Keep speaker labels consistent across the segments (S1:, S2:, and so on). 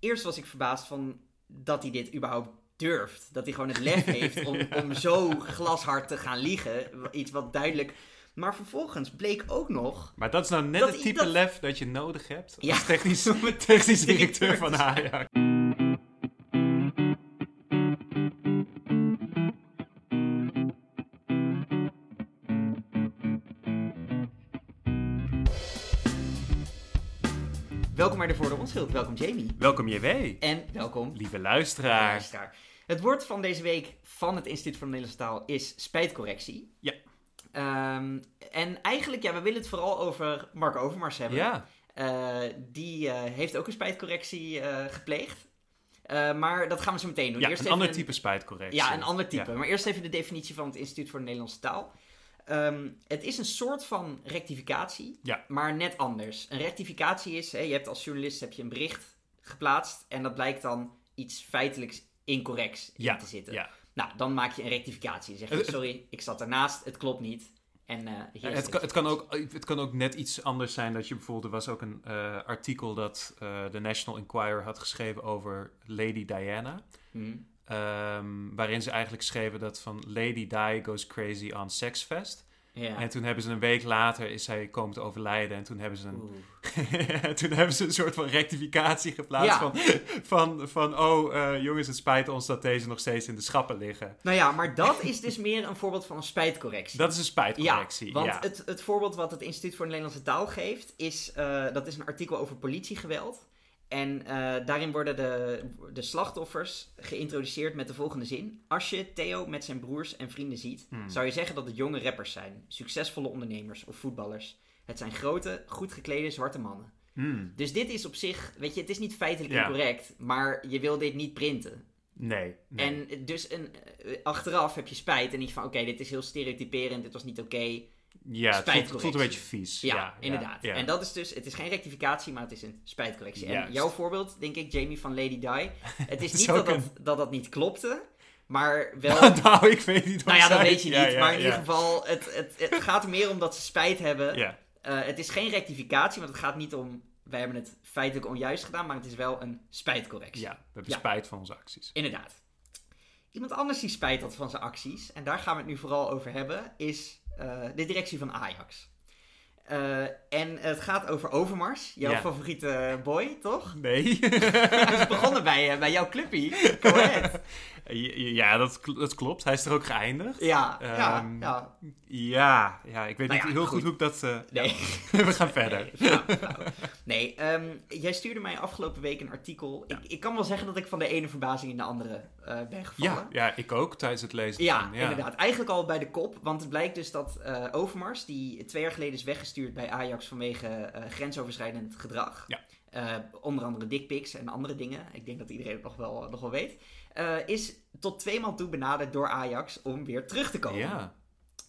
S1: eerst was ik verbaasd van dat hij dit überhaupt durft. Dat hij gewoon het lef heeft om, om zo glashard te gaan liegen. Iets wat duidelijk... Maar vervolgens bleek ook nog...
S2: Maar dat is nou net
S1: Dat
S2: het
S1: i-
S2: type
S1: dat-
S2: lef dat je nodig hebt als
S1: Ja.
S2: technisch, technisch directeur van Ajax.
S1: Welkom bij de Voor de Onschuld. Welkom Jamie.
S2: Welkom JW,
S1: En welkom
S2: lieve luisteraars.
S1: luisteraar. Het woord van deze week van het Instituut voor de Nederlandse Taal is spijtcorrectie.
S2: Ja.
S1: Ehm, en eigenlijk, ja, we willen het vooral over Mark Overmars hebben.
S2: Ja,
S1: Eh, die eh, heeft ook een spijtcorrectie eh, gepleegd. Eh, maar dat gaan we zo meteen doen.
S2: ja
S1: Eerst
S2: een
S1: even
S2: ander type spijtcorrectie.
S1: Ja, een ander type.
S2: Ja.
S1: Maar eerst even de definitie van het Instituut voor de Nederlandse Taal. Ehm, het is een soort van rectificatie,
S2: Ja.
S1: maar net anders. Een rectificatie is, hè, je hebt als journalist heb je een bericht geplaatst en dat blijkt dan iets feitelijks incorrects in
S2: Ja,
S1: te zitten.
S2: ja.
S1: Nou, dan maak je een rectificatie. Dan Zeg je,
S2: Het- het-
S1: sorry, ik zat daarnaast, het klopt niet. En eh, hier is
S2: Het kan, het, kan ook, het kan ook net iets anders zijn dat je bijvoorbeeld, er was ook een eh, artikel dat eh, de National Enquirer had geschreven over Lady Diana.
S1: Hm.
S2: Ehm, waarin ze eigenlijk schreven dat van Lady Di goes crazy on Sexfest.
S1: Ja.
S2: En toen hebben ze een week later is zij komen te overlijden. En toen hebben ze een,
S1: Oeh.
S2: toen hebben ze een soort van rectificatie geplaatst.
S1: Ja.
S2: Van, van, van oh eh, jongens, het spijt ons dat deze nog steeds in de schappen liggen.
S1: Nou ja, maar dat is dus meer een voorbeeld van een spijtcorrectie.
S2: Dat is een spijtcorrectie.
S1: Ja, want
S2: ja.
S1: Het, het voorbeeld wat het Instituut voor de Nederlandse Taal geeft, is, eh, dat is een artikel over politiegeweld. En eh, daarin worden de, de slachtoffers geïntroduceerd met de volgende zin. Als je Theo met zijn broers en vrienden ziet,
S2: Hmm.
S1: zou je zeggen dat het jonge rappers zijn, succesvolle ondernemers of voetballers. Het zijn grote, goed geklede zwarte mannen.
S2: Hmm,
S1: Dus dit is op zich, weet je, het is niet feitelijk
S2: Ja.
S1: incorrect, maar je wil dit niet printen.
S2: nee. nee.
S1: En dus een, eh, achteraf heb je spijt en niet van, oké, dit is heel stereotyperend, dit was niet oké.
S2: ja, het voelt, het voelt een
S1: spijtcorrectie.
S2: beetje vies.
S1: Ja, inderdaad.
S2: ja.
S1: En dat is dus, het is geen rectificatie, maar het is een spijtcorrectie.
S2: Juist.
S1: En jouw voorbeeld, denk ik, Jamie van Lady Di. Het is niet
S2: Zou
S1: dat dat, dat dat niet klopte, maar wel...
S2: nou, ik weet niet
S1: nou ja,
S2: of
S1: dat
S2: zij-
S1: weet je niet.
S2: Ja, ja,
S1: maar in
S2: ja.
S1: ieder geval, het, het, het gaat er meer om dat ze spijt hebben.
S2: Ja,
S1: Eh, het is geen rectificatie, want het gaat niet om... Wij hebben het feitelijk onjuist gedaan, maar het is wel een spijtcorrectie.
S2: ja, we hebben
S1: Ja.
S2: spijt van onze acties.
S1: Inderdaad. Iemand anders die spijt had van zijn acties, en daar gaan we het nu vooral over hebben, is eh, de directie van Ajax. Eh, en het gaat over Overmars, jouw
S2: Ja.
S1: favoriete boy, toch?
S2: Nee.
S1: Hij is begonnen bij, eh, bij jouw clubpie. Go ahead.
S2: ja, dat, kl- dat klopt. Hij is er ook geëindigd.
S1: Ja, ja,
S2: Ehm,
S1: ja.
S2: Ja, ja ik weet
S1: Nou
S2: niet
S1: ja,
S2: heel goed,
S1: goed.
S2: hoe ik dat... eh,
S1: Nee.
S2: we gaan verder.
S1: Ja, nou. Nee, ehm, jij stuurde mij afgelopen week een artikel.
S2: Ja.
S1: Ik, ik kan wel zeggen dat ik van de ene verbazing in de andere eh, ben gevallen.
S2: Ja, ja, ik ook tijdens het lezen.
S1: Ja,
S2: ervan,
S1: inderdaad. Eigenlijk al bij de kop. Want het blijkt dus dat eh, Overmars, die twee jaar geleden is weggestuurd bij Ajax vanwege eh, grensoverschrijdend gedrag.
S2: Ja.
S1: Eh, onder andere dickpics en andere dingen. Ik denk dat iedereen het nog wel, nog wel weet. Eh, is tot tweemaal toe benaderd door Ajax om weer terug te komen.
S2: Ja,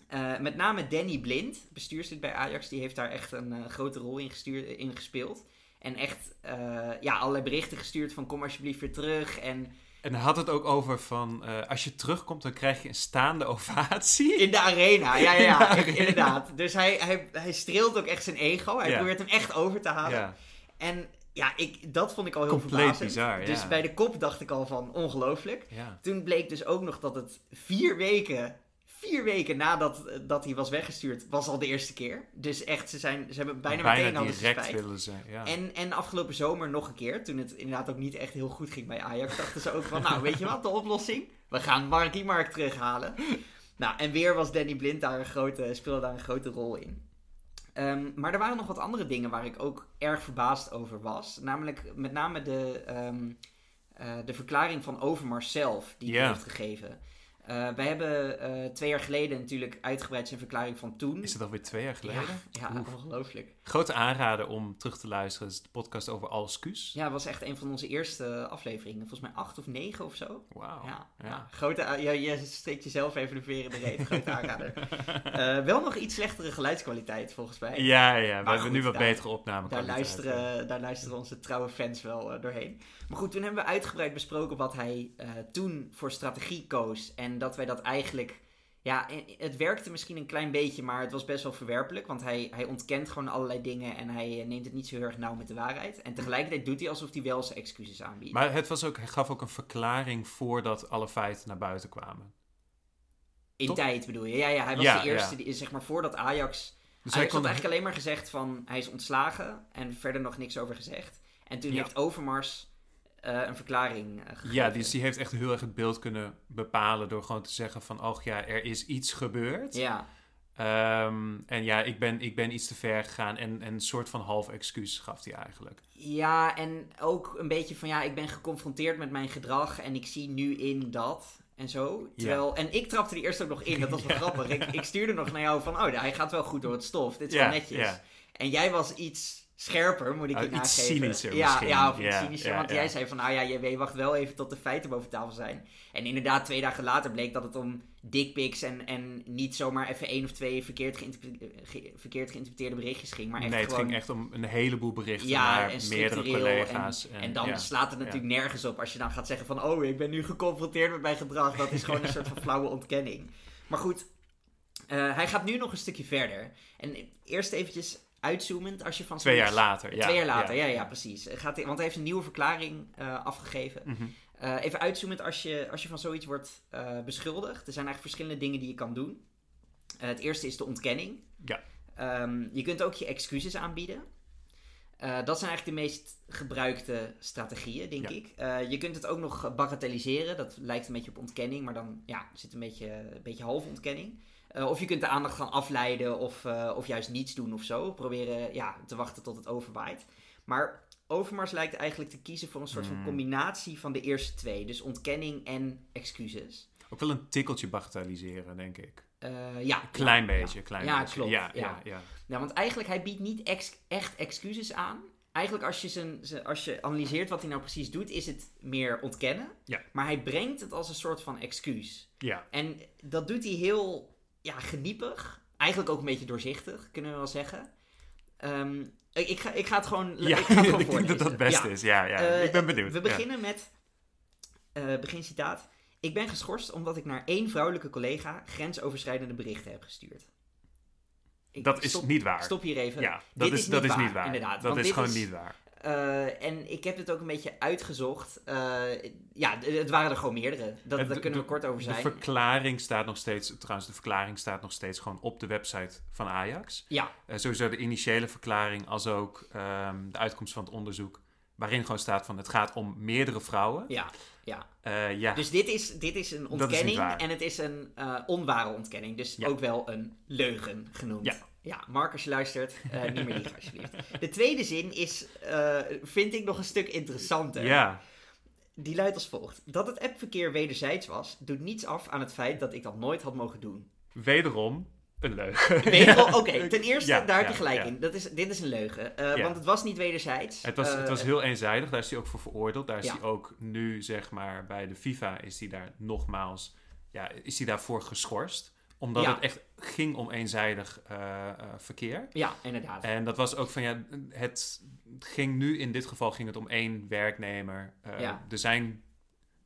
S1: Eh, met name Danny Blind, bestuurslid bij Ajax, die heeft daar echt een eh, grote rol in, gestuurd, in gespeeld. En echt eh, ja, allerlei berichten gestuurd van kom alsjeblieft weer terug. En
S2: en hij had het ook over van... eh, als je terugkomt, dan krijg je een staande ovatie.
S1: In de arena, ja, ja, ja,
S2: In de arena.
S1: inderdaad. Dus hij, hij, hij streelt ook echt zijn ego. Hij
S2: Ja.
S1: probeert hem echt over te halen.
S2: Ja,
S1: En ja, ik, dat vond ik al heel
S2: Compleet
S1: verbazend.
S2: bizar, ja.
S1: Dus bij de kop dacht ik al van ongelooflijk.
S2: ja.
S1: Toen bleek dus ook nog dat het vier weken, vier weken nadat eh, dat hij was weggestuurd, was al de eerste keer. Dus echt, ze, zijn, ze hebben bijna, meteen al
S2: direct
S1: spijt.
S2: willen ze. Ja.
S1: En, en afgelopen zomer nog een keer, toen het inderdaad ook niet echt heel goed ging bij Ajax, dachten ze ook van, nou weet je wat, de oplossing? We gaan Marky Mark terughalen. Nou, en weer was Danny Blind daar een grote, speelde daar een grote rol in. Ehm, maar er waren nog wat andere dingen waar ik ook erg verbaasd over was. Namelijk met name de, ehm, eh, de verklaring van Overmars zelf, die hij
S2: Ja.
S1: heeft gegeven. Eh, wij hebben eh, twee jaar geleden natuurlijk uitgebreid zijn verklaring van toen.
S2: Is het alweer twee jaar geleden?
S1: Ja, ja
S2: Oef.
S1: ongelooflijk.
S2: Grote aanrader om terug te luisteren. is de podcast over Alskuus.
S1: Ja, het was echt een van onze eerste afleveringen. Volgens mij acht of negen of zo.
S2: Wauw.
S1: ja, ja.
S2: Oh, ja.
S1: Grote, a- ja, je steekt jezelf even de veren in de reet. Grote aanrader. Eh, wel nog iets slechtere geluidskwaliteit volgens mij.
S2: Ja, ja, we
S1: Maar
S2: hebben nu
S1: goed,
S2: wat
S1: daar-
S2: betere opname.
S1: Daar luisteren, eh, daar luisteren onze trouwe fans wel eh, doorheen. Maar goed, toen hebben we uitgebreid besproken wat hij eh, toen voor strategie koos. En dat wij dat eigenlijk Ja, en het werkte misschien een klein beetje, maar het was best wel verwerpelijk. Want hij, hij ontkent gewoon allerlei dingen en hij eh, neemt het niet zo heel erg nauw met de waarheid. En tegelijkertijd doet hij alsof hij wel zijn excuses aanbiedt.
S2: Maar het was ook, hij gaf ook een verklaring voordat alle feiten naar buiten kwamen.
S1: In
S2: Toch?
S1: tijd bedoel je? Ja, ja hij was
S2: Ja,
S1: de eerste,
S2: ja.
S1: die, zeg maar, voordat Ajax...
S2: Dus hij
S1: Ajax
S2: kon
S1: had eigenlijk alleen maar gezegd van, hij is ontslagen en verder nog niks over gezegd. En toen
S2: Ja.
S1: heeft Overmars eh, een verklaring eh, gegeven.
S2: Ja, dus die heeft echt heel erg het beeld kunnen bepalen door gewoon te zeggen van, oh ja, er is iets gebeurd.
S1: Ja,
S2: Ehm, en ja, ik ben, ik ben iets te ver gegaan en, en een soort van half excuus gaf hij eigenlijk.
S1: ja, en ook een beetje van, ja, ik ben geconfronteerd met mijn gedrag en ik zie nu in dat en zo. Terwijl, en ik trapte die eerst ook nog in, dat was wel grappig. Ik, ik stuurde nog naar jou van, oh, hij gaat wel goed door het stof, dit is
S2: Ja,
S1: wel netjes.
S2: ja.
S1: En jij was iets scherper, moet ik
S2: Oh,
S1: je
S2: iets
S1: nageven.
S2: cynischer
S1: ja,
S2: misschien.
S1: Ja, of iets
S2: Ja,
S1: cynischer,
S2: ja,
S1: want
S2: ja.
S1: jij zei van, nou ja, JW, wacht wel even tot de feiten boven tafel zijn. En inderdaad, twee dagen later bleek dat het om dickpics en, en niet zomaar even één of twee verkeerd, geïnterpre- ge- verkeerd geïnterpreteerde berichtjes ging, maar echt
S2: nee, het
S1: gewoon...
S2: ging echt om een heleboel berichten
S1: Ja,
S2: naar
S1: en
S2: meerdere
S1: structureel
S2: collega's.
S1: En dan
S2: ja.
S1: slaat het natuurlijk nergens op als je dan gaat zeggen van... oh, ik ben nu geconfronteerd met mijn gedrag. Dat is gewoon een soort van flauwe ontkenning. Maar goed, eh, hij gaat nu nog een stukje verder. En eerst eventjes uitzoomend als je van...
S2: Twee jaar
S1: zoiets-
S2: later. Ja,
S1: Twee jaar later, ja, ja, precies. Gaat, hij- want hij heeft een nieuwe verklaring eh, afgegeven.
S2: Mhm.
S1: Eh, even uitzoomend als je, als je van zoiets wordt eh, beschuldigd. Er zijn eigenlijk verschillende dingen die je kan doen. Eh, het eerste is de ontkenning.
S2: Ja.
S1: Ehm, je kunt ook je excuses aanbieden. Eh, dat zijn eigenlijk de meest gebruikte strategieën, denk
S2: Ja.
S1: ik. Eh, je kunt het ook nog bagatelliseren. Dat lijkt een beetje op ontkenning, maar dan ja, zit een beetje, een beetje half ontkenning. Eh, of je kunt de aandacht gaan afleiden of, eh, of juist niets doen of zo. Proberen ja, te wachten tot het overwaait. Maar Overmars lijkt eigenlijk te kiezen voor een soort van
S2: Hmm.
S1: combinatie van de eerste twee. Dus ontkenning en excuses.
S2: Ook wel een tikkeltje bagatelliseren, denk ik.
S1: Eh, ja,
S2: Klein
S1: ja,
S2: beetje, klein
S1: Ja,
S2: beetje.
S1: klopt,
S2: Ja,
S1: ja.
S2: ja, ja.
S1: Ja, want eigenlijk, hij biedt niet ex- echt excuses aan. Eigenlijk, als je, zijn, zijn- als je analyseert wat hij nou precies doet, is het meer ontkennen.
S2: Ja.
S1: Maar hij brengt het als een soort van excuus.
S2: ja.
S1: En dat doet hij heel ja, geniepig. Eigenlijk ook een beetje doorzichtig, kunnen we wel zeggen. Ehm, ik, ik ga, ik ga het gewoon
S2: Ja,
S1: ik ga het gewoon
S2: ik denk dat
S1: voorlezen.
S2: dat het beste
S1: Ja.
S2: is. Ja, ja.
S1: Eh,
S2: ik ben benieuwd.
S1: We
S2: Ja.
S1: beginnen met, eh, begin citaat. Ik ben geschorst omdat ik naar één vrouwelijke collega grensoverschrijdende berichten heb gestuurd. Ik
S2: Dat is
S1: stop,
S2: niet waar.
S1: Stop hier even.
S2: Ja, dat,
S1: Dit
S2: is,
S1: is
S2: dat
S1: niet
S2: is
S1: waar,
S2: niet waar.
S1: inderdaad,
S2: Dat
S1: want
S2: is
S1: dit
S2: gewoon
S1: is-
S2: niet waar.
S1: Eh, en ik heb dit ook een beetje uitgezocht. Eh, ja, d- het waren er gewoon meerdere. Dat,
S2: Het-
S1: daar kunnen we
S2: de-
S1: kort over zijn.
S2: De verklaring staat nog steeds, trouwens, de verklaring staat nog steeds gewoon op de website van Ajax.
S1: Ja.
S2: Eh, sowieso de initiële verklaring, als ook ehm, de uitkomst van het onderzoek. Waarin gewoon staat van het gaat om meerdere vrouwen.
S1: ja, ja.
S2: Eh, ja,
S1: Dus dit is, dit is een
S2: is niet
S1: ontkenning
S2: waar.
S1: en het is een eh, onware ontkenning. Dus
S2: Ja.
S1: ook wel een leugen genoemd.
S2: Ja.
S1: Mark, als je luistert, eh, niet meer liegen alsjeblieft. De tweede zin is, eh, vind ik nog een stuk interessanter.
S2: ja.
S1: Die luidt als volgt. Dat het appverkeer wederzijds was, doet niets af aan het feit dat ik dat nooit had mogen doen.
S2: wederom een leugen.
S1: Wederom- Oké, ten eerste,
S2: Ja,
S1: daar heb
S2: ja,
S1: je gelijk
S2: ja.
S1: in. Dat is, dit is een leugen. eh,
S2: Ja.
S1: Want het was niet wederzijds.
S2: Het was, het
S1: Eh,
S2: was heel eenzijdig, daar is hij ook voor veroordeeld. Daar is
S1: Ja.
S2: hij ook nu, zeg maar, bij de FIFA is hij daar nogmaals, ja, is hij daarvoor geschorst. Omdat
S1: Ja.
S2: het echt ging om eenzijdig eh, eh, verkeer.
S1: Ja, inderdaad.
S2: En dat was ook van, ja, het ging nu, in dit geval ging het om één werknemer. Eh,
S1: Ja.
S2: Er zijn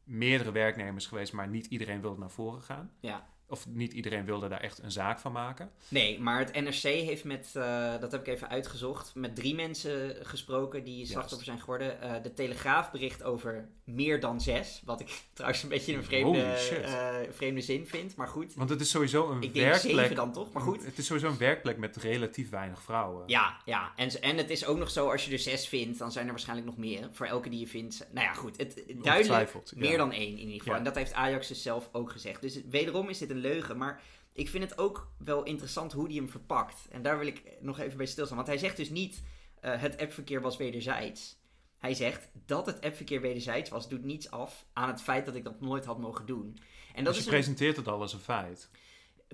S2: meerdere werknemers geweest, maar niet iedereen wilde naar voren gaan.
S1: Ja.
S2: Of niet iedereen wilde daar echt een zaak van maken.
S1: Nee, maar het NRC heeft met, eh, dat heb ik even uitgezocht, met drie mensen gesproken die slachtoffer zijn geworden. Eh, de Telegraaf bericht over meer dan zes, wat ik trouwens een beetje een vreemde,
S2: Holy shit.
S1: eh, vreemde zin vind, maar goed.
S2: Want het is sowieso een
S1: Ik denk
S2: werkplek Mm.
S1: zeven dan toch, maar goed.
S2: Het is sowieso een werkplek met relatief weinig vrouwen.
S1: Ja, ja. En, en het is ook nog zo, als je er zes vindt, dan zijn er waarschijnlijk nog meer. Voor elke die je vindt. Nou ja, goed. Het, het- duidelijk
S2: Ongetwijfeld, ja.
S1: meer dan één in ieder geval.
S2: Ja.
S1: En dat heeft Ajax dus zelf ook gezegd. Dus het- wederom is dit een leugen. Maar ik vind het ook wel interessant hoe die hem verpakt. En daar wil ik nog even bij stilstaan. Want hij zegt dus niet, eh, het appverkeer was wederzijds. Hij zegt, dat het appverkeer wederzijds was, doet niets af aan het feit dat ik dat nooit had mogen doen. En dat
S2: dus je
S1: is een
S2: presenteert het al als een feit.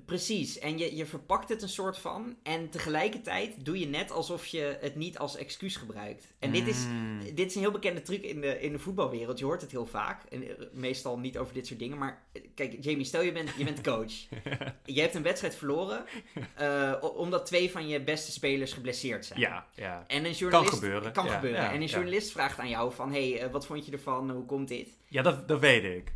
S1: Precies, en je, je verpakt het een soort van. En tegelijkertijd doe je net alsof je het niet als excuus gebruikt. En dit, is,
S2: Mm.
S1: dit is een heel bekende truc in de, in de voetbalwereld. Je hoort het heel vaak. En eh, meestal niet over dit soort dingen. Maar eh, kijk, Jamie, stel je bent, je bent coach. je hebt een wedstrijd verloren. eh, o- omdat twee van je beste spelers geblesseerd zijn.
S2: Ja, ja.
S1: En een journalist,
S2: gebeuren,
S1: Kan
S2: ja,
S1: gebeuren.
S2: ja,
S1: en een
S2: ja.
S1: journalist vraagt aan jou van... hey, eh, wat vond je ervan? Hoe komt dit?
S2: ja dat, dat weet ik.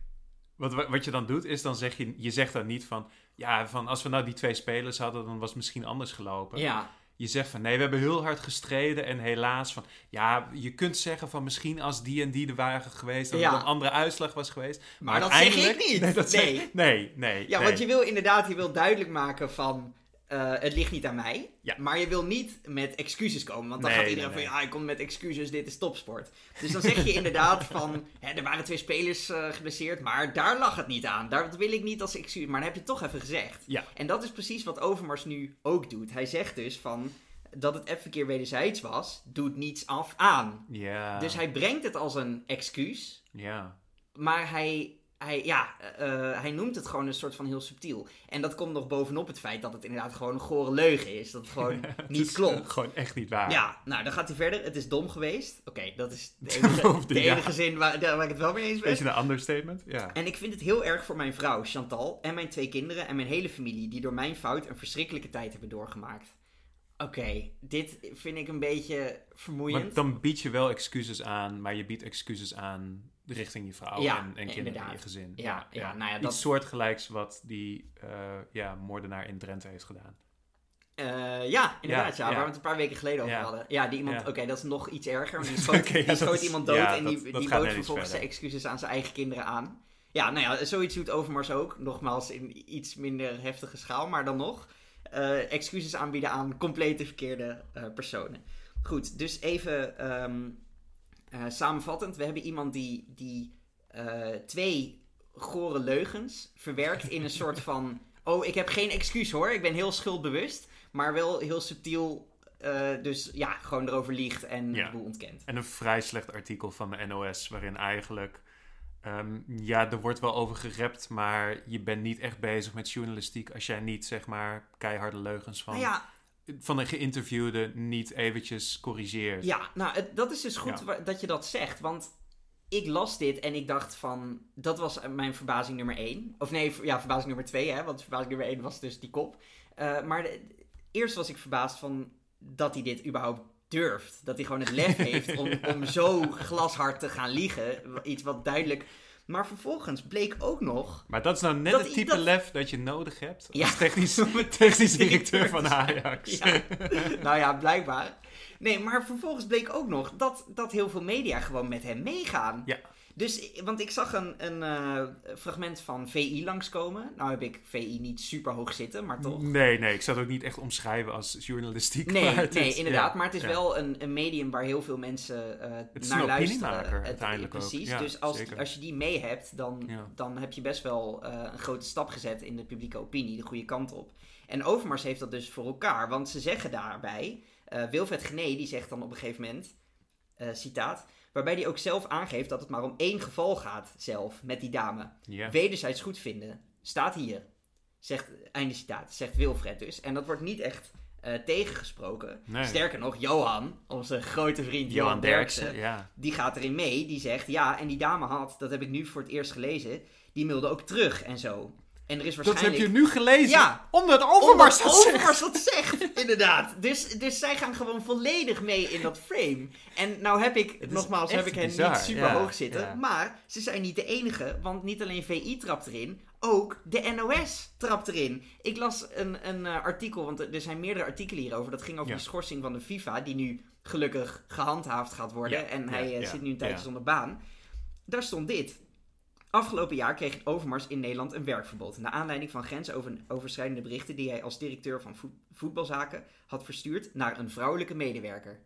S2: Wat, wat je dan doet, is dan zeg je, je zegt dan niet van, ja, van als we nou die twee spelers hadden, dan was het misschien anders gelopen.
S1: Ja,
S2: Je zegt van, nee, we hebben heel hard gestreden en helaas van, ja, je kunt zeggen van misschien als die en die er waren geweest, dat
S1: Ja.
S2: er een andere uitslag was geweest.
S1: maar, dat zeg ik
S2: uiteindelijk-
S1: niet.
S2: Nee, dat zeg-
S1: nee.
S2: nee, nee.
S1: Ja,
S2: nee.
S1: want je wil inderdaad, je wil duidelijk maken van, eh, het ligt niet aan mij.
S2: Ja.
S1: Maar je wil niet met excuses komen, want dan
S2: Nee,
S1: gaat iedereen
S2: nee,
S1: van, ja, ik kom met excuses, dit is topsport. Dus dan zeg je inderdaad van, hè, er waren twee spelers eh, geblesseerd, maar daar lag het niet aan. Daar dat wil ik niet als excuus, maar dan heb je het toch even gezegd.
S2: Ja.
S1: En dat is precies wat Overmars nu ook doet. Hij zegt dus van, dat het even een keer wederzijds was, doet niets af aan.
S2: Ja,
S1: Dus hij brengt het als een excuus,
S2: ja.
S1: maar hij, hij, ja, eh, hij noemt het gewoon een soort van heel subtiel. En dat komt nog bovenop het feit dat het inderdaad gewoon een gore leugen is. Dat het gewoon
S2: Het
S1: niet
S2: is,
S1: klopt.
S2: eh, Gewoon echt niet waar.
S1: Ja, nou dan gaat hij verder. Het is dom geweest. Oké, dat is de enige,
S2: Hoofde,
S1: de
S2: ja.
S1: enige zin waar, daar waar ik het wel mee eens ben.
S2: Beetje een understatement. Ja.
S1: En ik vind het heel erg voor mijn vrouw, Chantal, en mijn twee kinderen en mijn hele familie, die door mijn fout een verschrikkelijke tijd hebben doorgemaakt. Oké, dit vind ik een beetje
S2: Want
S1: vermoeiend.
S2: dan bied je wel excuses aan, maar je biedt excuses aan richting je vrouw
S1: Ja,
S2: en, en kinderen
S1: inderdaad.
S2: in je gezin.
S1: Ja, ja, nou ja,
S2: Iets
S1: dat-
S2: soortgelijks wat die eh, ja, moordenaar in Drenthe heeft gedaan.
S1: Eh, ja, inderdaad, ja,
S2: Ja, ja.
S1: Waar we het een paar weken geleden over
S2: Ja.
S1: hadden. Ja, die iemand,
S2: Ja.
S1: oké, dat is nog iets erger. want Die schoot,
S2: Oké, ja,
S1: die schoot
S2: dat is-
S1: iemand dood
S2: ja,
S1: en die,
S2: dat- dat
S1: die
S2: gaat
S1: boot
S2: net iets
S1: vervolgens zijn
S2: verder.
S1: excuses aan zijn eigen kinderen aan. Ja, nou ja, zoiets doet Overmars ook. Nogmaals, in iets minder heftige schaal, maar dan nog. eh, excuses aanbieden aan complete verkeerde eh, personen. Goed, dus even ehm, eh, samenvattend. We hebben iemand die, die eh, twee gore leugens verwerkt in een soort van... Oh, ik heb geen excuus hoor. Ik ben heel schuldbewust. Maar wel heel subtiel. eh, dus ja, gewoon erover liegt en
S2: Ja.
S1: de boel ontkent.
S2: En een vrij slecht artikel van de NOS, waarin eigenlijk. ehm, ja, er wordt wel over gerept, maar je bent niet echt bezig met journalistiek als jij niet, zeg maar, keiharde leugens van,
S1: Nou ja,
S2: van een geïnterviewde niet eventjes corrigeert.
S1: ja nou, het- dat is dus goed
S2: Ja.
S1: wa- dat je dat zegt. Want ik las dit en ik dacht van... Dat was eh, mijn verbazing nummer één. Of nee, ver- ja, verbazing nummer twee. Hè, want verbazing nummer één was dus die kop. Eh, maar de- eerst was ik verbaasd van dat hij dit überhaupt durft. Dat hij gewoon het lef heeft om, om zo glashard te gaan liegen. Iets wat duidelijk... Maar vervolgens bleek ook nog
S2: Maar dat is nou net
S1: Dat-
S2: het type
S1: dat-
S2: lef dat je nodig hebt
S1: Ja.
S2: als technisch, technisch directeur van Ajax.
S1: Ja. nou ja, blijkbaar. Nee, maar vervolgens bleek ook nog dat, dat heel veel media gewoon met hem meegaan.
S2: Ja.
S1: Dus, want ik zag een, een eh, fragment van VI langskomen. Nou heb ik VI niet super hoog zitten, maar toch.
S2: Nee, nee, ik zou het ook niet echt omschrijven als journalistiek.
S1: Nee,
S2: maar het
S1: nee
S2: is-
S1: inderdaad.
S2: ja,
S1: Maar het is
S2: ja.
S1: wel een, een medium waar heel veel mensen eh,
S2: is
S1: naar
S2: een
S1: luisteren.
S2: opiniemaker
S1: Het-
S2: uiteindelijk ook.
S1: Precies.
S2: Ja,
S1: dus als,
S2: zeker.
S1: als je die mee hebt, dan,
S2: Ja.
S1: dan heb je best wel eh, een grote stap gezet in de publieke opinie, de goede kant op. En Overmars heeft dat dus voor elkaar. Want ze zeggen daarbij, eh Wilfred Gené die zegt dan op een gegeven moment, eh, citaat, waarbij hij ook zelf aangeeft dat het maar om één geval gaat zelf met die dame
S2: Ja.
S1: wederzijds goed vinden, staat hier. Zegt, einde citaat, zegt Wilfred dus. En dat wordt niet echt eh, tegengesproken.
S2: Nee.
S1: Sterker nog, Johan, onze grote vriend Johan,
S2: Johan
S1: Derksen,
S2: Derksen, ja.
S1: die gaat erin mee. Die zegt, ja, en die dame had, dat heb ik nu voor het eerst gelezen, die mailde ook terug en zo. En er is
S2: Dat
S1: waarschijnlijk...
S2: heb je nu gelezen,
S1: Ja.
S2: omdat Overmars dat
S1: Omdat
S2: zegt.
S1: Overmars dat zegt, inderdaad. Dus, dus zij gaan gewoon volledig mee in dat frame. En nou heb ik,
S2: is
S1: nogmaals, heb
S2: echt
S1: ik hen
S2: bizar,
S1: niet super
S2: ja,
S1: hoog zitten.
S2: ja.
S1: Maar ze zijn niet de enige, want niet alleen VI trapt erin, ook de NOS trapt erin. Ik las een, een eh, artikel, want er er zijn meerdere artikelen hierover. Dat ging over
S2: Ja.
S1: die schorsing van de FIFA, die nu gelukkig gehandhaafd gaat worden.
S2: Ja,
S1: en
S2: ja,
S1: hij eh,
S2: ja,
S1: zit nu een tijdje
S2: ja.
S1: zonder baan. Daar stond dit. Afgelopen jaar kreeg Overmars in Nederland een werkverbod. Naar aanleiding van grensoverschrijdende berichten die hij als directeur van voet- voetbalzaken had verstuurd naar een vrouwelijke medewerker.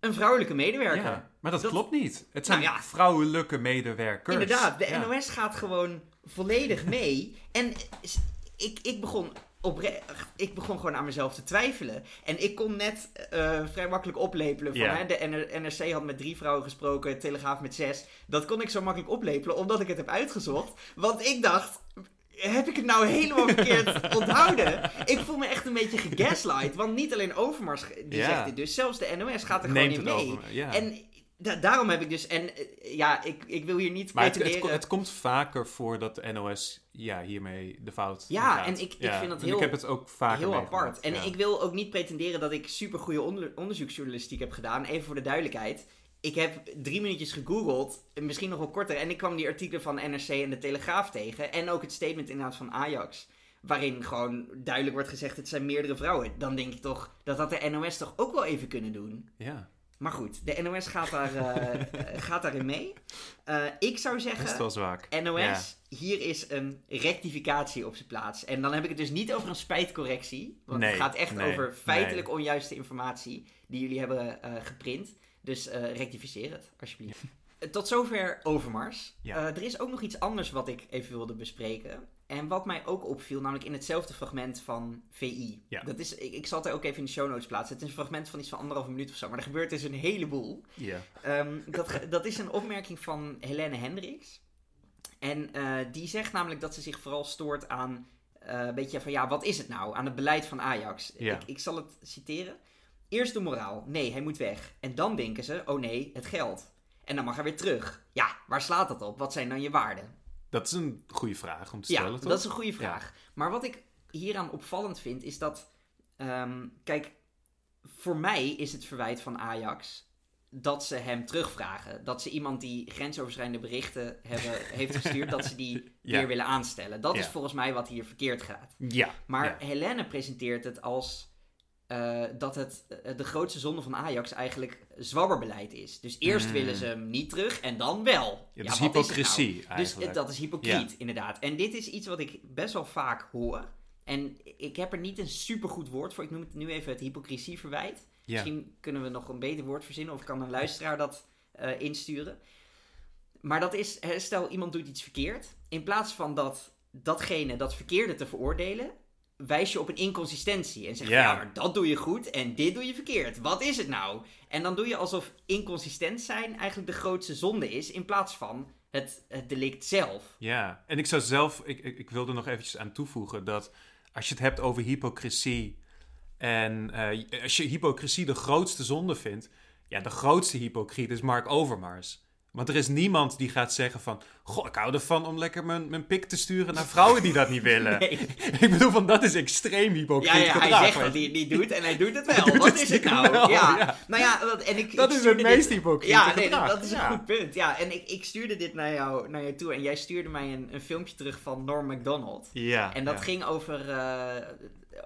S1: Een vrouwelijke medewerker?
S2: Ja, maar dat,
S1: Dat-
S2: klopt niet. Het zijn
S1: Nou ja.
S2: vrouwelijke medewerkers.
S1: Inderdaad, de
S2: Ja.
S1: NOS gaat gewoon volledig mee. en s- ik, ik begon. opre- ik begon gewoon aan mezelf te twijfelen. En ik kon net eh, vrij makkelijk oplepelen. Van,
S2: Ja.
S1: hè, de NR NRC had met drie vrouwen gesproken, Telegraaf met zes. Dat kon ik zo makkelijk oplepelen, omdat ik het heb uitgezocht. Want ik dacht, heb ik het nou helemaal verkeerd onthouden? Ik voel me echt een beetje gegaslight. Want niet alleen Overmars ge- die
S2: Ja.
S1: zegt dit dus. Zelfs de NOS gaat er
S2: Neemt het
S1: gewoon in mee.
S2: over. Ja.
S1: En da- daarom heb ik dus... En eh, ja, ik, ik wil hier niet
S2: maar het, het,
S1: pretenderen...
S2: ko- het komt vaker voor dat de NOS ja, hiermee de fout
S1: Ja,
S2: gaat.
S1: en ik- ik vind dat
S2: en
S1: heel-
S2: Ik heb het ook vaker
S1: Heel
S2: meegemaakt,
S1: apart. En
S2: ja.
S1: ik wil ook niet pretenderen dat ik super goede onderzoeksjournalistiek heb gedaan. Even voor de duidelijkheid. ik heb drie minuutjes gegoogeld, en misschien nog wel korter, en ik kwam die artikelen van NRC en de Telegraaf tegen. En ook het statement inderdaad van Ajax. Waarin gewoon duidelijk wordt gezegd, het zijn meerdere vrouwen. Dan denk ik toch, dat had de NOS toch ook wel even kunnen doen.
S2: Ja,
S1: Maar goed, de NOS gaat, daar, eh, gaat daarin mee. Eh, ik zou
S2: dat is
S1: zeggen,
S2: wel zwak.
S1: NOS, hier is een rectificatie op zijn plaats. En dan heb ik het dus niet over een spijtcorrectie. Want
S2: Nee,
S1: het gaat echt
S2: nee,
S1: over feitelijk onjuiste informatie die jullie hebben eh, geprint. Dus eh, rectificeer het, alsjeblieft. Eh, Tot zover Overmars.
S2: Ja.
S1: Eh, er is ook nog iets anders wat ik even wilde bespreken. En wat mij ook opviel, namelijk in hetzelfde fragment van VI.
S2: Ja.
S1: Dat is, ik, ik zal het er ook even in de show notes plaatsen. Het is een fragment van iets van anderhalve minuut of zo. Maar er gebeurt dus een heleboel.
S2: Ja.
S1: Ehm, dat, ge- dat is een opmerking van Helene Hendricks. En eh, die zegt namelijk dat ze zich vooral stoort aan eh, een beetje van ja, wat is het nou? Aan het beleid van Ajax.
S2: Ja.
S1: Ik, ik zal het citeren. Eerst de moraal. Nee, hij moet weg. En dan denken ze, oh nee, het geld. En dan mag hij weer terug. Ja, waar slaat dat op? Wat zijn dan je waarden?
S2: Dat is een goede vraag om te
S1: Ja,
S2: stellen, toch?
S1: dat is een goede vraag. Maar wat ik hieraan opvallend vind, is dat... ehm, kijk, voor mij is het verwijt van Ajax dat ze hem terugvragen. Dat ze iemand die grensoverschrijdende berichten hebben, heeft gestuurd, dat ze die
S2: Ja.
S1: weer willen aanstellen. Dat is
S2: Ja.
S1: volgens mij wat hier verkeerd gaat.
S2: Ja.
S1: Maar
S2: ja.
S1: Helene presenteert het als... eh, dat het eh, de grootste zonde van Ajax eigenlijk zwabberbeleid is. Dus eerst
S2: Mm.
S1: willen ze hem niet terug en dan wel.
S2: Ja, dat
S1: wat het
S2: is
S1: nou?
S2: hypocrisie
S1: Dus
S2: eigenlijk.
S1: eh, dat is hypocriet, inderdaad. En dit is iets wat ik best wel vaak hoor. En ik heb er niet een supergoed woord voor. Ik noem het nu even het hypocrisie verwijt.
S2: ja.
S1: Misschien kunnen we nog een beter woord verzinnen. Of kan een luisteraar dat eh, insturen. Maar dat is, hè, stel iemand doet iets verkeerd. In plaats van dat, datgene, dat verkeerde te veroordelen. Wijs je op een inconsistentie en zeg je,
S2: Ja.
S1: ja, maar dat doe je goed en dit doe je verkeerd. Wat is het nou? En dan doe je alsof inconsistent zijn eigenlijk de grootste zonde is, in plaats van het, het delict zelf.
S2: Ja, en ik zou zelf, ik, ik, ik wilde nog eventjes aan toevoegen dat als je het hebt over hypocrisie en eh, als je hypocrisie de grootste zonde vindt, ja, de grootste hypocriet is Mark Overmars. Want er is niemand die gaat zeggen van, goh, ik hou ervan om lekker mijn, mijn pik te sturen naar vrouwen die dat niet willen.
S1: Nee.
S2: Ik bedoel, van dat is extreem hypocriet
S1: Ja, ja, hij
S2: gedrag,
S1: zegt
S2: weet
S1: dat
S2: je.
S1: hij het niet doet en hij doet het wel.
S2: doet
S1: Wat
S2: het
S1: is het nou?
S2: stiekem wel,
S1: ja.
S2: ja.
S1: Nou ja, want- en ik,
S2: Dat
S1: ik
S2: is het
S1: stuurde dit-
S2: meest hypocriete
S1: Ja, nee,
S2: gedrag.
S1: dat is een
S2: Ja.
S1: goed punt. Ja, en ik, ik stuurde dit naar jou, naar jou toe en jij stuurde mij een, een filmpje terug van Norm MacDonald.
S2: Ja,
S1: En dat
S2: ja.
S1: ging over, eh,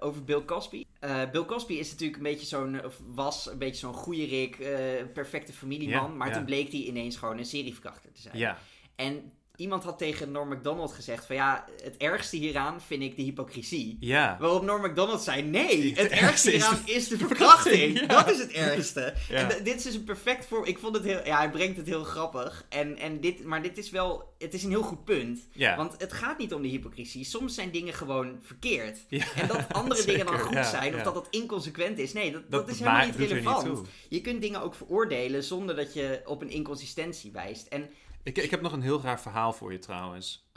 S1: over Bill Cosby. Eh, Bill Cosby is natuurlijk een beetje zo'n, of was een beetje zo'n goede Rick, eh, perfecte familieman.
S2: Ja,
S1: maar
S2: ja.
S1: toen bleek hij ineens gewoon een serieverkrachter te zijn.
S2: Ja,
S1: En iemand had tegen Norm MacDonald gezegd van ja, het ergste hieraan vind ik de hypocrisie.
S2: ja.
S1: Waarop Norm MacDonald zei: Nee, het ergste
S2: ergste is
S1: hieraan is de
S2: verkrachting,
S1: verkrachting.
S2: ja.
S1: Dat is het ergste.
S2: Ja.
S1: En d- dit is dus een perfect voor. Ik vond het heel. Ja, hij brengt het heel grappig. En, en dit, maar dit is wel. Het is een heel goed punt.
S2: Ja.
S1: Want het gaat niet om de hypocrisie. Soms zijn dingen gewoon verkeerd.
S2: Ja,
S1: en dat andere dingen dan
S2: zeker.
S1: goed
S2: Ja,
S1: zijn, of
S2: ja.
S1: dat dat inconsequent is. Nee, dat, dat,
S2: Dat
S1: is helemaal
S2: maakt-
S1: niet
S2: doet er niet
S1: relevant.
S2: toe.
S1: je kunt dingen ook veroordelen zonder dat je op een inconsistentie wijst. En oké.
S2: Ik, ik heb nog een heel raar verhaal voor je trouwens.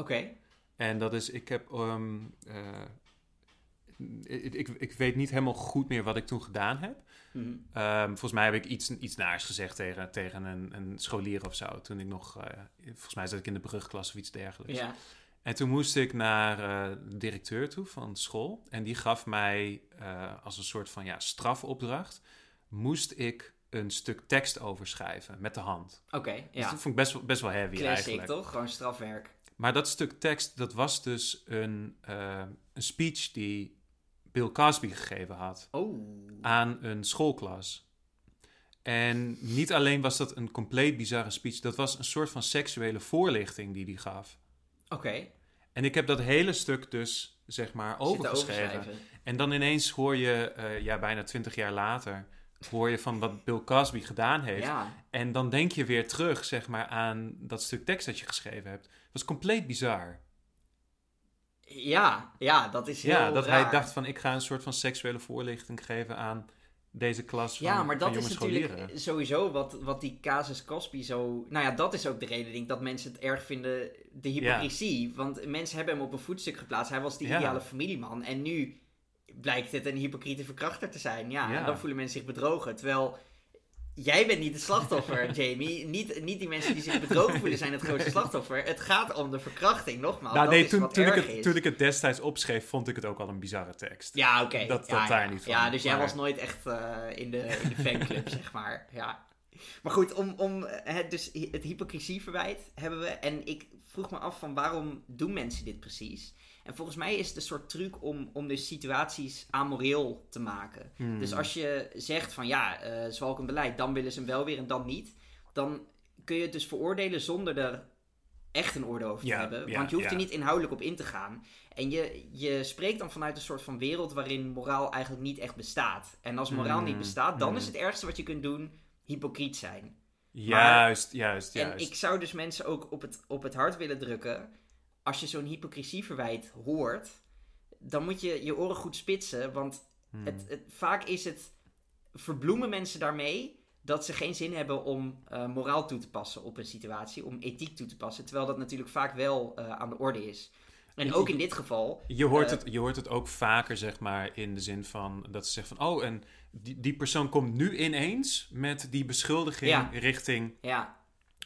S2: En dat is, ik heb. ehm, eh, ik, ik, ik weet niet helemaal goed meer wat ik toen gedaan heb.
S1: Mhm.
S2: Ehm, volgens mij heb ik iets, iets naars gezegd tegen, tegen een, een scholier of zo. Toen ik nog. eh, volgens mij zat ik in de brugklas of iets dergelijks.
S1: Ja.
S2: En toen moest ik naar eh, de directeur toe van school. En die gaf mij eh, als een soort van ja, strafopdracht. Moest ik een stuk tekst overschrijven met de hand.
S1: Oké.
S2: Dus
S1: ja.
S2: dat vond ik best, wel- best wel heavy
S1: Classic
S2: eigenlijk.
S1: toch? Gewoon strafwerk.
S2: Maar dat stuk tekst, dat was dus een, eh, een speech die Bill Cosby gegeven had
S1: Oh.
S2: aan een schoolklas. En niet alleen was dat een compleet bizarre speech, dat was een soort van seksuele voorlichting die hij gaf.
S1: Oké.
S2: En ik heb dat hele stuk dus, zeg maar,
S1: Zitten
S2: overgeschreven. En dan ineens hoor je, eh, ja, bijna twintig jaar later, hoor je van wat Bill Cosby gedaan heeft.
S1: Ja,
S2: En dan denk je weer terug, zeg maar, aan dat stuk tekst dat je geschreven hebt. Het was compleet bizar.
S1: ja, ja, dat is heel
S2: Ja, dat
S1: raar.
S2: hij dacht van ik ga een soort van seksuele voorlichting geven aan deze klas van,
S1: Ja, maar
S2: van
S1: dat
S2: jonge
S1: is natuurlijk
S2: scholieren.
S1: sowieso wat, wat die casus Cosby zo... Nou ja, dat is ook de reden, denk ik, dat mensen het erg vinden, de hypocrisie. Want mensen hebben hem op een voetstuk geplaatst. Hij was de
S2: Ja.
S1: ideale familieman. En nu blijkt het een hypocriete verkrachter te zijn. Ja,
S2: Ja.
S1: en dan voelen mensen zich bedrogen. Terwijl, jij bent niet het slachtoffer, Jamie. Niet, niet die mensen die zich bedrogen voelen zijn het grootste slachtoffer. Het gaat om de verkrachting, nogmaals.
S2: nou
S1: Oh, dat
S2: nee,
S1: is
S2: toen,
S1: wat
S2: toen, ik
S1: erg
S2: het,
S1: is.
S2: toen ik het destijds opschreef, vond ik het ook al een bizarre tekst.
S1: Ja, oké.
S2: Dat-
S1: ja,
S2: dat daar
S1: ja.
S2: niet van,
S1: Ja, dus jij
S2: maar-
S1: was nooit echt eh, in, de, in de fanclub, zeg maar. Ja. Maar goed, om, om eh, het, dus hi- het hypocriesieverwijt hebben we. En ik vroeg me af van waarom doen mensen dit precies? En volgens mij is het een soort truc om, om dus situaties amoreel te maken.
S2: Hmm.
S1: Dus als je zegt van ja, eh zwalkend beleid, dan willen ze hem wel weer en dan niet. Dan kun je het dus veroordelen zonder er echt een oordeel over te
S2: Ja,
S1: hebben.
S2: ja,
S1: want je hoeft
S2: ja.
S1: er niet inhoudelijk op in te gaan. En je, je spreekt dan vanuit een soort van wereld waarin moraal eigenlijk niet echt bestaat. En als moraal
S2: Hmm,
S1: niet bestaat, dan
S2: hmm.
S1: is het ergste wat je kunt doen hypocriet zijn.
S2: Juist, juist,
S1: En
S2: juist.
S1: ik zou dus mensen ook op het, op het hart willen drukken. Als je zo'n hypocriesieverwijt hoort, dan moet je je oren goed spitsen. Want
S2: Hmm.
S1: het, het- vaak is het, verbloemen mensen daarmee dat ze geen zin hebben om eh, moraal toe te passen op een situatie, om ethiek toe te passen. Terwijl dat natuurlijk vaak wel eh, aan de orde is. En ook in dit geval,
S2: Je
S1: Eh,
S2: hoort, het, je hoort het ook vaker, zeg maar, in de zin van dat ze zeggen van... Oh, en die, die persoon komt nu ineens met die beschuldiging
S1: Ja.
S2: richting
S1: ja,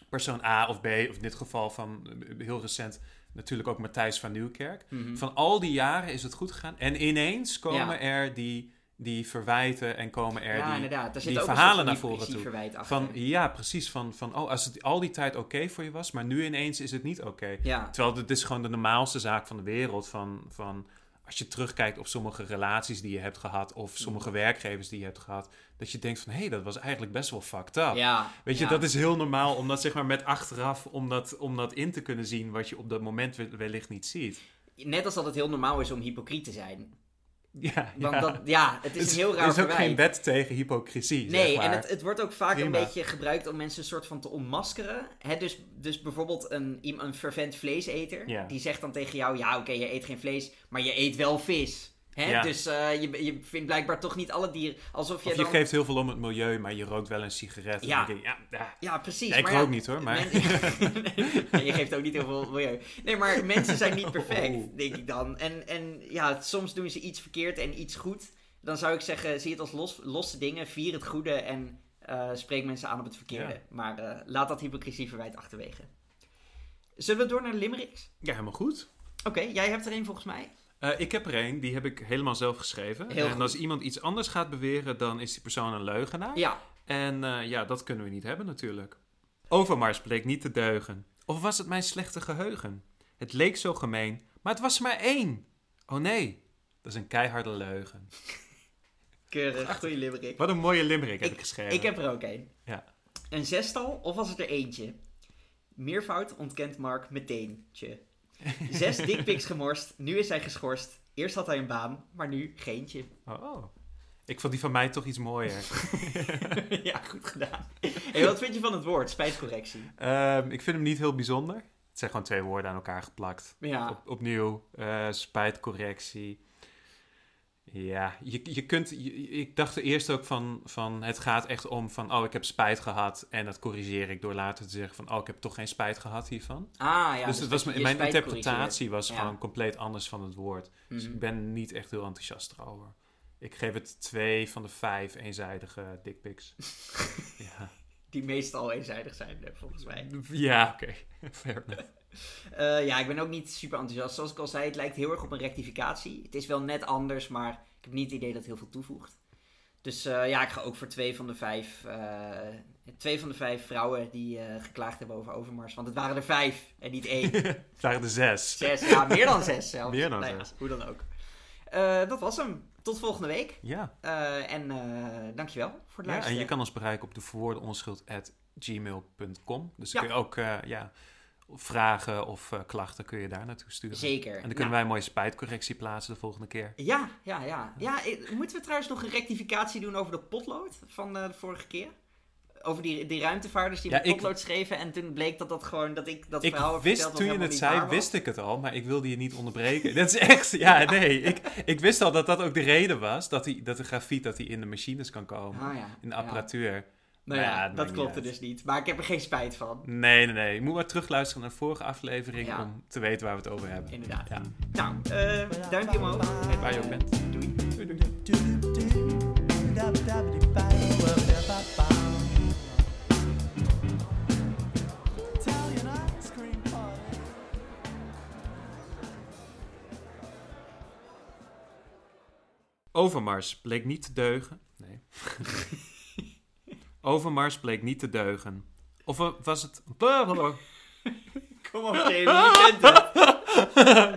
S2: persoon A of B. Of in dit geval van eh, heel recent natuurlijk ook Matthijs van Nieuwkerk.
S1: mhm.
S2: Van al die jaren is het goed gegaan. En ineens komen
S1: Ja.
S2: er die, die verwijten en komen er
S1: ja
S2: die...
S1: inderdaad. Daar zit
S2: die
S1: ook een
S2: verhalen
S1: soort
S2: naar
S1: van
S2: voren toe.
S1: hypocriesieverwijt achter.
S2: Van, ja, precies. Van, van oh, als het al die tijd oké voor je was, maar nu ineens is het niet oké.
S1: ja.
S2: Terwijl dit is gewoon de normaalste zaak van de wereld. Van, van als je terugkijkt op sommige relaties die je hebt gehad.
S1: Mhm.
S2: Of sommige werkgevers die je hebt gehad. Dat je denkt van, hé, dat was eigenlijk best wel fucked up.
S1: ja,
S2: Ah, Weet je,
S1: ja.
S2: dat is heel normaal om dat zeg maar met achteraf, om dat, om dat in te kunnen zien wat je op dat moment we- wellicht niet ziet.
S1: Net als dat het heel normaal is om hypocriet te zijn.
S2: Ja,
S1: Want
S2: ja.
S1: dat, ja, het is een heel raar
S2: Er is ook
S1: verwijt.
S2: geen wet tegen hypocrisie,
S1: Nee,
S2: zeg maar.
S1: en het, het wordt ook vaak
S2: Prima.
S1: een beetje gebruikt om mensen een soort van te ontmaskeren. Hè, dus, dus bijvoorbeeld een, iem- een fervent vleeseter,
S2: Ja.
S1: die zegt dan tegen jou, ja oké, je eet geen vlees, maar je eet wel vis. Hè?
S2: Ja.
S1: Dus eh, je, je vindt blijkbaar toch niet alle dieren, alsof je
S2: Of je
S1: dan...
S2: geeft heel veel om het milieu, maar je rookt wel een sigaret. En
S1: Ja.
S2: dan denk je, ja, ja.
S1: Ja, precies.
S2: Ja, ik
S1: maar
S2: rook
S1: ja,
S2: niet hoor, maar...
S1: men- Ja, je geeft ook niet heel veel milieu. Nee, maar mensen zijn niet perfect,
S2: Oh.
S1: denk ik dan. En, en ja, soms doen ze iets verkeerd en iets goed. Dan zou ik zeggen, zie het als los, losse dingen, vier het goede en eh, spreek mensen aan op het verkeerde.
S2: Ja.
S1: Maar eh, laat dat hypocriesieverwijt achterwege. Zullen we door naar de limericks?
S2: ja, helemaal goed.
S1: Oké, jij hebt er een volgens mij.
S2: Eh, ik heb er één, die heb ik helemaal zelf geschreven.
S1: Heel
S2: en
S1: goed.
S2: als iemand iets anders gaat beweren, dan is die persoon een leugenaar.
S1: Ja,
S2: En eh, ja, dat kunnen we niet hebben natuurlijk. Overmars bleek niet te deugen. Of was het mijn slechte geheugen? Het leek zo gemeen, maar het was er maar één. Oh nee, dat is een keiharde leugen.
S1: keurig. Goeie limerick.
S2: Wat een mooie limerick heb ik, geschreven.
S1: Ik heb er ook één.
S2: Ja.
S1: Een zestal of was het er eentje? Meervoud ontkent Mark meteen. Tje. Zes dickpics gemorst, nu is hij geschorst. Eerst had hij een baan, maar nu geentje.
S2: Oh, oh. Ik vond die van mij toch iets mooier.
S1: ja, goed gedaan. En wat vind je van het woord? Spijscorrectie.
S2: Ehm, ik vind hem niet heel bijzonder. Het zijn gewoon twee woorden aan elkaar geplakt.
S1: Ja,
S2: Op- opnieuw, eh, spijtcorrectie. Ja, je, je kunt. je- ik dacht er eerst ook van, van. Het gaat echt om van. Oh, ik heb spijt gehad. En dat corrigeer ik door later te zeggen van. Oh, ik heb toch geen spijt gehad hiervan.
S1: ah ja.
S2: dus het was,
S1: dat
S2: mijn
S1: je
S2: mijn
S1: spijt
S2: interpretatie was
S1: Ja.
S2: gewoon compleet anders van het woord.
S1: corrigeert.
S2: Dus ik
S1: Mhm.
S2: ben niet echt heel enthousiast erover. Ik geef het twee van de vijf eenzijdige dickpics. ja,
S1: Die meestal eenzijdig zijn, eh, volgens mij.
S2: ja oké. Fair enough.
S1: Eh, ja, ik ben ook niet super enthousiast. Zoals ik al zei, het lijkt heel erg op een rectificatie. Het is wel net anders, maar ik heb niet het idee dat het heel veel toevoegt. Dus eh, ja, ik ga ook voor twee van de vijf, eh, twee van de vijf vrouwen die eh, geklaagd hebben over Overmars. Want het waren er vijf en niet één.
S2: Het waren de zes.
S1: zes, ja, meer dan zes zelfs.
S2: Meer dan
S1: Nou ja,
S2: zes.
S1: hoe dan ook. Eh, dat was hem. Tot volgende week.
S2: Ja.
S1: Eh, en eh, dankjewel voor het
S2: Ja, en
S1: luisteren.
S2: je kan ons bereiken op de verwoordenonschuld.gmail.com. Dus
S1: Ja.
S2: kun je ook eh, ja, vragen of eh, klachten kun je daar naartoe sturen.
S1: Zeker.
S2: En dan
S1: Nou,
S2: kunnen wij een mooie spijtcorrectie plaatsen de volgende keer.
S1: Ja, ja, ja. ja eh, moeten we trouwens nog een rectificatie doen over de potlood van eh, de vorige keer? Over die, die ruimtevaarders die
S2: Ja,
S1: met
S2: ik-
S1: potlood schreven en toen bleek dat dat gewoon, dat ik dat
S2: Ik
S1: verhaal heb verteld
S2: wist
S1: wat
S2: toen je
S1: helemaal
S2: het
S1: niet
S2: zei,
S1: waar was.
S2: wist ik het al, maar ik wilde je niet onderbreken. dat is echt, ja, nee. Ik, ik wist al dat dat ook de reden was, dat, die, dat de grafiet dat die in de machines kan komen.
S1: Ah, ja.
S2: In de
S1: Ja.
S2: apparatuur.
S1: Nou
S2: Maar ja,
S1: ja,
S2: dat maakt
S1: dat
S2: niet
S1: klopte
S2: uit.
S1: dus niet. Maar ik heb er geen spijt van,
S2: Nee, nee, nee. Je moet maar terugluisteren naar de vorige aflevering
S1: Ja.
S2: om te weten waar we het over hebben.
S1: inderdaad.
S2: Ja.
S1: Nou, eh duimpje omhoog. En
S2: Waar je ook bent.
S1: Doei.
S2: Doei, doei.
S3: Italian ice cream party.
S2: Overmars bleek niet te deugen. Nee. Overmars bleek niet te deugen. Of eh, was het...
S1: Kom op, Jamie, je kent het.